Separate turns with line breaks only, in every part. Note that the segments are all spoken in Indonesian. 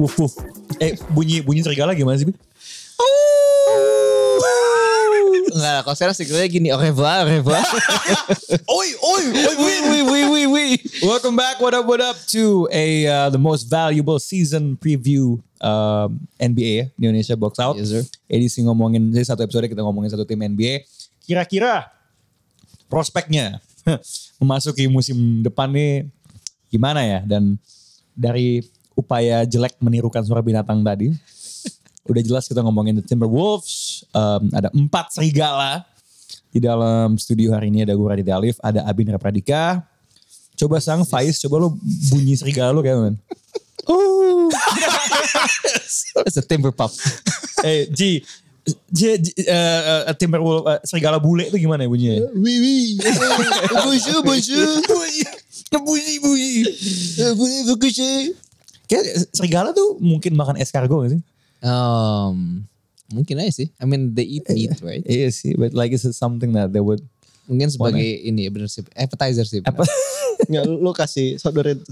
Wuf wuf. Eh bunyi bunyi serigala gimana sih? Bi?
Enggak, kalau sekarang signalnya gini, Oh, au revoir, au revoir.
Oi oi oi
Wih, wih, wih, wih, wih.
Welcome back. What up? What up to a uh, the most valuable season preview um, NBA Indonesia Box Out.
Yes, sir.
Edisi ngomongin jadi satu episode kita ngomongin satu tim NBA. Kira-kira prospeknya memasuki musim depan nih gimana ya? Dan dari upaya jelek menirukan suara binatang tadi, udah jelas kita ngomongin the Timberwolves. Um, ada empat serigala di dalam studio hari ini ada gue Raditya Alif, ada Abin Repradika, Coba sang Faiz, coba lo bunyi serigala lo kayak man. Uh.
It's a timber pup.
eh, Ji, Ji, Ji, eh, eh, Timberwolf, eh, serigala bule itu gimana ya bunyinya?
Wih, wih.
Eh,
Bonjour, bonjour.
eh, Bunyi, bunyi.
Eh,
Bonjour, bonjour.
Kayak serigala tuh mungkin makan escargot gak sih?
Um, mungkin aja sih. I mean, they eat
Eh,
meat, right?
Iya sih, but like it's something that they would.
Mungkin sebagai ini ya bener sih. Appetizer sih. bener.
Nggak, lu, lu kasih saudarin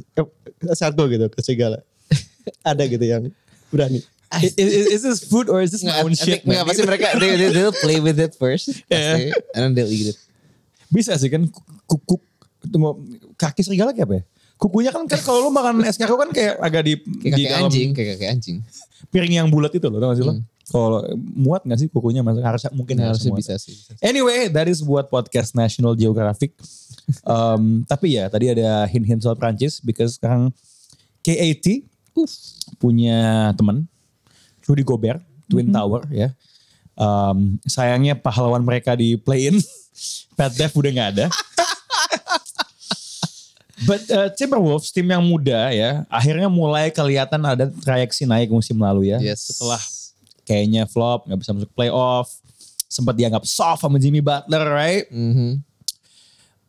sargo gitu ke segala. Ada gitu yang berani.
Is, is- is this food or is this
Nggak,
my own
I think-
shit? man?
nggak, pasti mereka, they, they, they'll play with it first. Pasti. And then they'll eat it.
Bisa sih kan kukuk, tunggu, kaki serigala kayak apa ya? Kukunya kan, kan kalau lo makan escargot kan kayak agak di,
Kayak
di
kakek
dalam-
anjing, kayak kakek anjing.
piring yang bulat itu loh, tau gak sih lo? Kalau muat gak sih kukunya masuk? Harus, mungkin
Harusnya
muat.
bisa sih.
Anyway, that is buat podcast National Geographic. Um, tapi ya tadi ada hint-hint soal Prancis because sekarang KAT punya teman Rudy Gobert, Twin Tower ya. Um, sayangnya pahlawan mereka di play-in Pat Dev udah nggak ada. But uh, Timberwolves tim yang muda ya, akhirnya mulai kelihatan ada trayeksi naik musim lalu ya.
Yes.
Setelah kayaknya flop, nggak bisa masuk playoff, sempat dianggap soft sama Jimmy Butler, right?
Mhm.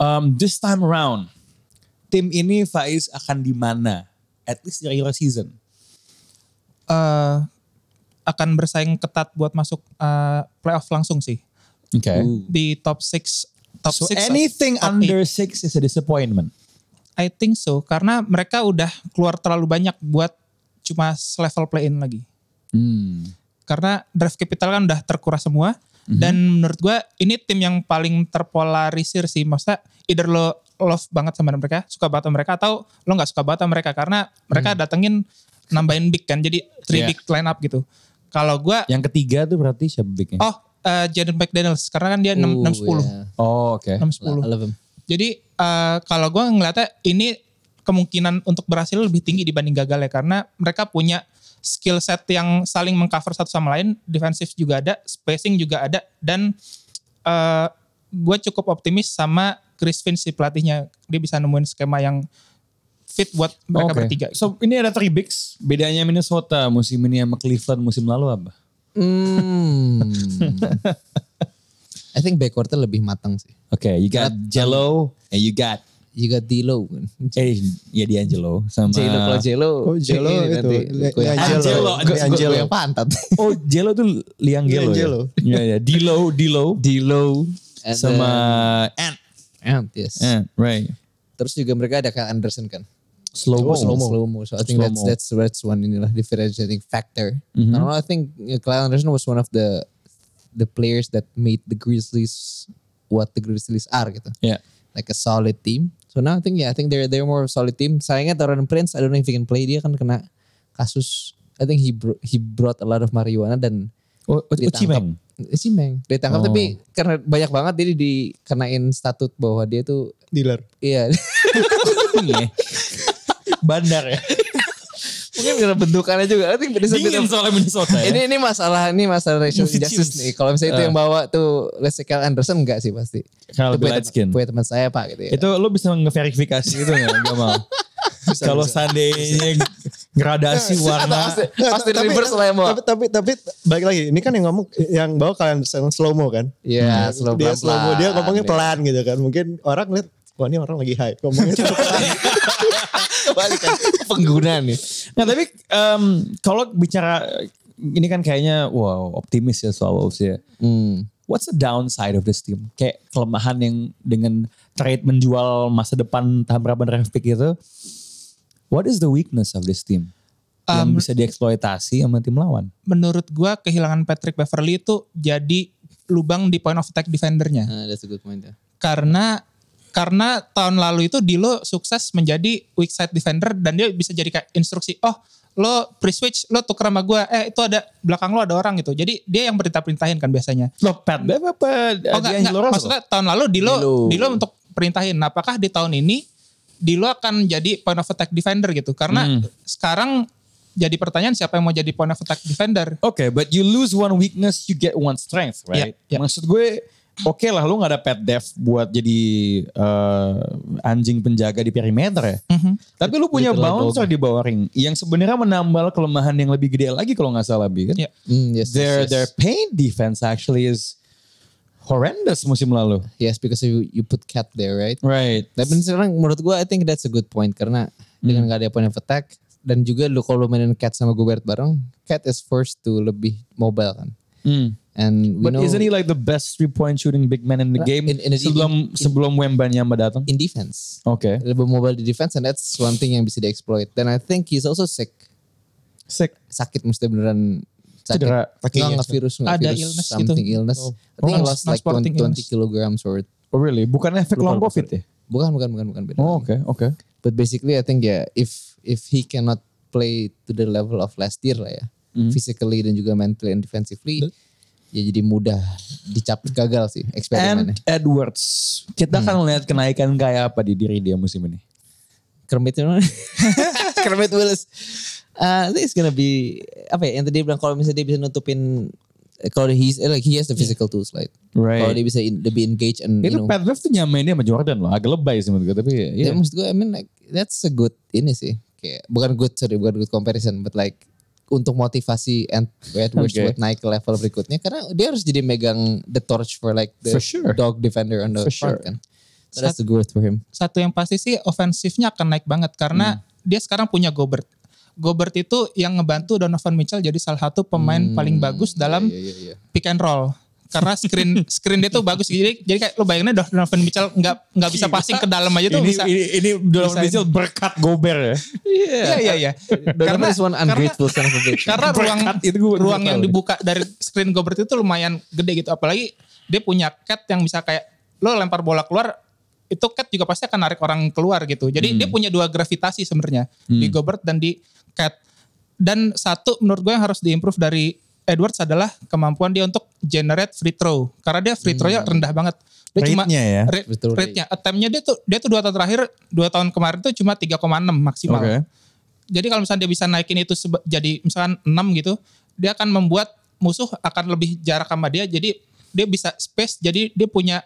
Um, this time around, tim ini Faiz akan di mana? At least di regular season.
eh, akan bersaing ketat buat masuk eh, playoff langsung sih
Oke.
di top 6 top
So
6
anything
top
under six is a disappointment.
eight. I think so karena mereka udah keluar terlalu banyak buat cuma selevel play in lagi
Hmm.
karena draft capital kan udah terkuras semua
Mhm.
dan menurut gua ini tim yang paling terpolarisir sih maksudnya either lo love banget sama mereka suka banget sama mereka atau lo nggak suka banget sama mereka karena mereka datengin nambahin big kan jadi three
Mhm. Yeah.
big line up gitu kalau gua
Yang ketiga tuh berarti siapa bignya?
Oh, eh Jaden McDaniels karena kan
Eh,
dia enam enam sepuluh,
yeah.
Oh, oke.
I
enam sepuluh.
love him.
Jadi eh, kalau gue ngeliatnya ini kemungkinan untuk berhasil lebih tinggi dibanding gagal ya karena mereka punya skill set yang saling mengcover satu sama lain, defensif juga ada, spacing juga ada dan eh gue cukup optimis sama Chris Finch si pelatihnya dia bisa nemuin skema yang fit buat mereka
Oke.
bertiga.
So ini ada three bigs. Bedanya Minnesota musim ini sama Cleveland musim lalu apa?
Hmm. I think backcourtnya lebih matang sih.
Oke, you got Jello and you got
You got D'Lo kan.
eh ya D'Angelo sama
Jelo kalau Jelo.
Oh, Jelo
ini
itu. Le-
Goyang- Angelo.
Leangelo.
Gue- gue-
Leangelo.
gue yang pantat.
Oh, Jello tuh Lianggelo
Liangelo.
ya. Iya, iya. D'Lo, D'Lo
D'Lo. And
sama Ant.
then- Ant, yes.
Ant, right.
Terus juga mereka ada Kyle Anderson kan.
Oh, Slow mo.
Slow mo. So I think
Slow-mo.
that's
Mm-hmm.
that's that's one inilah differentiating factor. I don't know, I think uh, Kyle Anderson was one of the the players that made the Grizzlies what the Grizzlies are gitu.
Yeah.
like a solid team. So now I think yeah, I think they're they're more of a solid team. Sayangnya Toran Prince, I don't know if he can play. Dia kan kena kasus. I think he bro- he brought a lot of marijuana dan eh,
Oh, oh, oh, Cimeng.
si Meng
Oh.
ditangkap tapi karena banyak banget jadi dikenain statut bahwa dia tuh
Dealer.
iya
Iya. Bandar ya.
mungkin karena bentukannya juga. I think there is a bit
Dingin
of-
soalnya Minnesota ya.
ini ini masalah ini masalah racial
Movie
injustice
tunes.
nih. Kalau misalnya itu
Ah.
yang bawa tuh let's say Kyle Anderson enggak sih pasti.
Kalau
Itu
lebih
punya
light
tem-
skin.
punya teman saya pak gitu ya.
Itu lo bisa ngeverifikasi itu gak? Gak mau. Kalau seandainya Nah, gradasi warna.
Pasti- pasti reverse
ya,
lah yang bawa.
Tapi, tapi, tapi, balik lagi. Ini kan yang ngomong, yang bawa kalian slow-mo kan.
Iya, slow
dia
pelan-pelan.
slow-mo, dia ngomongnya
ya.
Iya.
pelan gitu kan. Mungkin orang lihat, wah ini orang lagi high. Ngomongnya terlalu pelan.
Kebalikan pengguna nih.
Nah tapi em, kalau bicara ini kan kayaknya wow optimis ya soal Wolves ya.
Hmm.
What's the downside of this team? Kayak kelemahan yang dengan trade menjual masa depan Tamraban Refik itu. What is the weakness of this team? yang
Um,
bisa dieksploitasi sama tim lawan.
menurut gua kehilangan Patrick Beverly itu jadi lubang di point of attack defendernya.
Nah, that's a good point. ya.
Karena karena tahun lalu itu Dilo sukses menjadi weak side defender dan dia bisa jadi kayak instruksi, oh lo pre-switch, lo tuker sama gua, eh itu ada belakang lo ada orang gitu. Jadi dia yang perintah-perintahin kan biasanya.
Lo Pat apa apa
Oh enggak, enggak. maksudnya tahun lalu Dilo,
Dilo.
Dilo untuk perintahin. Nah, apakah di tahun ini Dilo akan jadi point of attack defender gitu? Karena
Hmm.
sekarang jadi pertanyaan siapa yang mau jadi point of attack defender?
Oke, but you lose one weakness, you get one strength, right?
Ya, ya.
Maksud gue, oke lah lu gak ada pet dev buat jadi eh, anjing penjaga di perimeter ya.
Hmm. Mhm.
Tapi lu punya
Little
bouncer di bawah ring yang sebenarnya menambal kelemahan yang lebih gede lagi kalau nggak salah, Bi. Kan?
Ya.
Hmm, yes,
Their
yes, yes.
their paint defense actually is horrendous musim lalu.
Yes, because you, you put cat there, right?
Right.
Tapi sekarang menurut gue, I think that's a good point karena dengan gak ada point of attack dan juga lu kalau lu mainin cat sama Gobert bareng, cat is forced to lebih mobile kan. And we
But
know Uh,
isn't he like the best three point shooting big man in the game
In- in a-
sebelum
in-
sebelum Wembanyama datang?
in defense.
Oke.
Lebih mobile di defense and that's one thing yang bisa dieksploit. Dan I think he's also sick.
Sick.
Sakit mesti beneran sakit.
Cedera
Enggak,
kakinya.
enggak virus, enggak
Ada
virus,
illness gitu.
something illness.
Oh.
I think he
Oh,
lost like
non-sporting
20,
illness.
kilograms or
Oh really? Bukan efek
Lupa,
long
lupa,
covid ya?
bukan bukan bukan bukan beda.
Oh oke oke.
But basically I think ya if if he cannot play to the level of last year lah ya.
Hmm.
Physically dan juga mentally and defensively ya jadi mudah dicap gagal sih eksperimennya.
And Edwards, kita
Hmm.
akan lihat kenaikan kayak apa di diri dia musim ini.
Kermit you know? Kermit Willis. Uh, I think it's gonna be apa ya yang tadi dia bilang kalau misalnya dia bisa nutupin eh, kalau he's eh, like he has the physical tools like
Right.
kalau dia bisa in, lebih engage and you
Itu
know
Pat Bev tuh nyamain dia sama Jordan loh, agak lebay sih menurut gue tapi ya.
Ya, maksud gue, I mean like that's a good ini sih. Kayak bukan good sorry, bukan good comparison, but like untuk motivasi and Edwards
Okay.
buat naik ke level berikutnya karena dia harus jadi megang the torch for like the
For sure.
dog defender on the
For
front
sure.
kan. So that's the growth for him.
Satu yang pasti sih ofensifnya akan naik banget
Hmm.
karena dia sekarang punya Gobert. Gobert itu yang ngebantu Donovan Mitchell jadi salah satu pemain paling bagus dalam
Hmm. Iya iya iya.
pick and roll. Karena screen screen dia tuh bagus jadi jadi kayak lo bayangin aja Donovan Mitchell nggak nggak
Iya.
bisa passing ke dalam aja tuh
ini,
bisa.
ini ini Donovan
bisa-
Mitchell berkat Gober ya.
Iya iya iya.
Karena is one ungrateful son of a bitch.
Karena ruang
Berkat itu gua
ruang
tahu ya.
yang
nih.
dibuka dari screen Gobert itu lumayan gede gitu. Apalagi dia punya cat yang bisa kayak lo lempar bola keluar itu cat juga pasti akan narik orang keluar gitu. Jadi
Hmm.
dia punya dua gravitasi sebenarnya di Gobert dan di cat. Dan satu menurut gue yang harus diimprove dari Edwards adalah kemampuan dia untuk generate free throw. Karena dia free throw-nya rendah banget. Dia cuma
Hmm. Rate-nya ya.
Rate,
Free throw rate.
rate-nya. Attempt-nya dia tuh dia tuh dua tahun terakhir, dua tahun kemarin tuh cuma 3,6 maksimal
Oke.
jadi kalau misalnya dia bisa naikin itu seba- jadi misalkan 6 gitu, dia akan membuat musuh akan lebih jarak sama dia. Jadi dia bisa space, jadi dia punya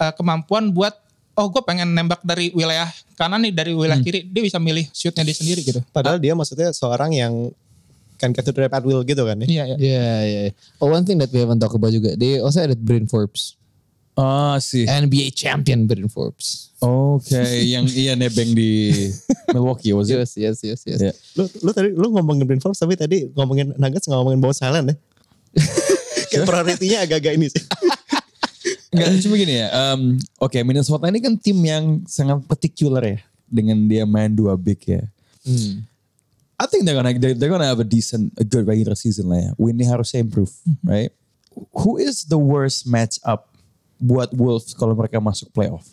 eh, kemampuan buat oh gue pengen nembak dari wilayah kanan nih dari wilayah kiri, dia bisa milih shootnya dia sendiri gitu.
Padahal dia maksudnya seorang yang kan kata dari at will gitu kan ya.
Iya, iya.
Yeah, yeah. Oh, one thing that we haven't talked about juga, they also added Bryn Forbes,
Ah sih.
NBA champion Bryn Forbes.
Oke, yang iya nebeng di Milwaukee was it?
Yes, yes, yes, yes.
Yeah.
Lu, lu tadi lu ngomongin Bryn Forbes tapi tadi ngomongin Nuggets nggak ngomongin Bones Highland ya. Kayak prioritinya agak-agak ini sih.
Enggak, cuma gini ya. em, Oke, Minnesota ini kan tim yang sangat particular ya dengan dia main dua big ya.
Hmm.
I think they're gonna they're, they're gonna have a decent, a good regular season lah ya. Winnie harusnya improve, right? Who is the worst matchup buat Wolves kalau mereka masuk playoff?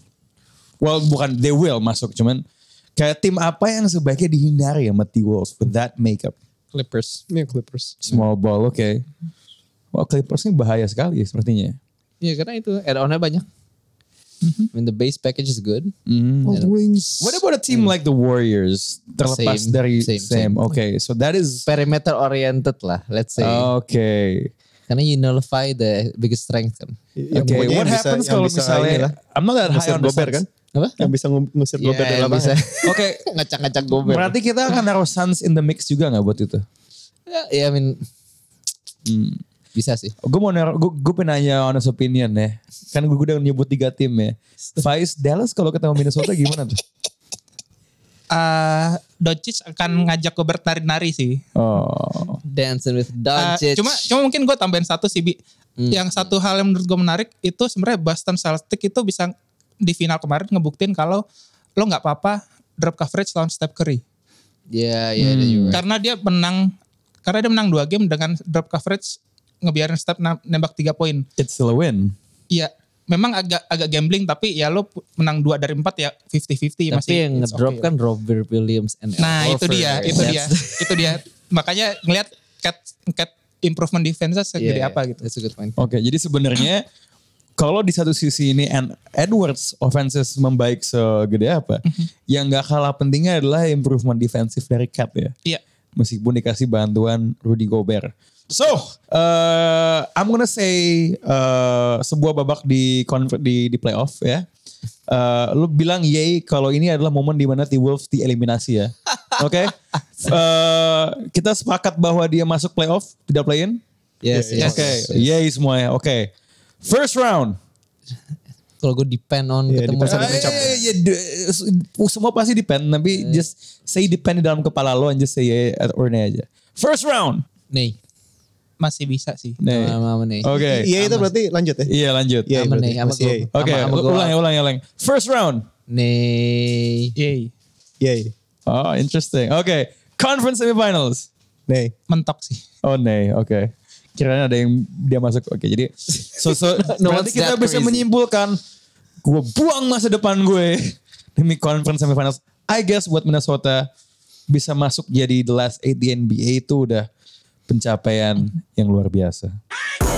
Well, bukan they will masuk, cuman kayak tim apa yang sebaiknya dihindari ya mati Wolves with that makeup?
Clippers.
Ini Clippers.
Small ball, oke. Wah, Clippers ini bahaya sekali ya, sepertinya.
Ya karena itu add-onnya banyak.
Mm-hmm.
I mean the base package is good.
What about a
Hmm.
team like the Warriors? Terlepas
Same,
dari
same,
same,
same.
Okay, so that is
Perimeter oriented lah, let's say.
Oh. okay.
Karena you nullify the biggest strength kan.
Ya,
okay, Iya,
pokoknya
what
yang bisa-
happens
yang
kalau
bisa
misalnya
inilah,
I'm not that high Iya,
ngusir
on the
Gobert
Suns.
kan?
Apa?
Yang bisa ngu- ngusir Gobert
Ya,
di
yang
lapangan.
bisa
Oke,
ngacak-ngacak Gobert.
berarti kita akan naruh Suns in the mix juga nggak buat itu?
Ya, ya, I mean bisa sih.
Gue mau naruh, gue, gue pengen nanya honest opinion ya. Kan gue udah nyebut tiga tim ya. Faiz Dallas kalau ketemu Minnesota gimana tuh?
Eh, Doncic akan ngajak gue bertari-nari sih.
Oh,
Dancing with
Eh,
Doncic.
cuma cuma mungkin gue tambahin satu sih Bi. Yang satu hal yang menurut gue menarik itu sebenarnya Boston Celtics itu bisa di final kemarin ngebuktiin kalau lo nggak apa-apa drop coverage lawan Steph Curry.
Ya, ya ada
Hmm.
juga.
Karena dia menang karena dia menang dua game dengan drop coverage ngebiarin step nembak tiga poin.
It's still a win.
Iya, memang agak agak gambling tapi ya lo menang dua dari empat ya 50-50
Tapi
masih.
yang
it's
ngedrop
okay.
kan Robert Williams and Al
Nah, itu
Horford,
dia,
right?
itu dia,
That's-
itu dia. Makanya ngelihat cat cat improvement defense segede
yeah,
apa gitu.
That's a good point.
Oke, jadi sebenarnya kalau di satu sisi ini An- Edwards offenses membaik segede apa, yang gak kalah pentingnya adalah improvement defensif dari Cat ya.
Iya.
Meskipun dikasih bantuan Rudy Gobert. So, uh, I'm gonna say uh, sebuah babak di confer- di di playoff ya. Uh, lu bilang yay kalau ini adalah momen di mana The Wolves dieliminasi ya. Oke. Uh, kita sepakat bahwa dia masuk playoff, tidak play-in?
Yes, yes.
Oke,
yes, yes.
yay semuanya. Oke. First round.
Kalau gue depend on
Yeah,
ketemu
depend
sama
on the
matchup.
Eh, ya, de- eh, semua pasti depend, tapi just say depend di dalam kepala lo and just say yay or nay aja. First round.
Nih,
Masih bisa sih.
Nay.
sama-sama nih.
Oke.
Iya itu berarti lanjut ya.
Iya, lanjut.
Iya,
Sama
berarti
nih, sama
masih
gue.
yay.
Oke,
Sama- sama
ulang
gua.
ya, ulang ya, ulang. First round.
Nih.
Yay,
Yay.
Oh, interesting. Oke. Conference semifinals.
Nih.
mentok sih.
Oh, nay. Oke. Kirain ada yang dia masuk. Oke, jadi so, so
No
berarti
one's
kita
that
bisa
crazy.
menyimpulkan gue buang masa depan gue demi conference semifinals. I guess buat Minnesota bisa masuk jadi the last eight di NBA itu udah pencapaian yang luar biasa.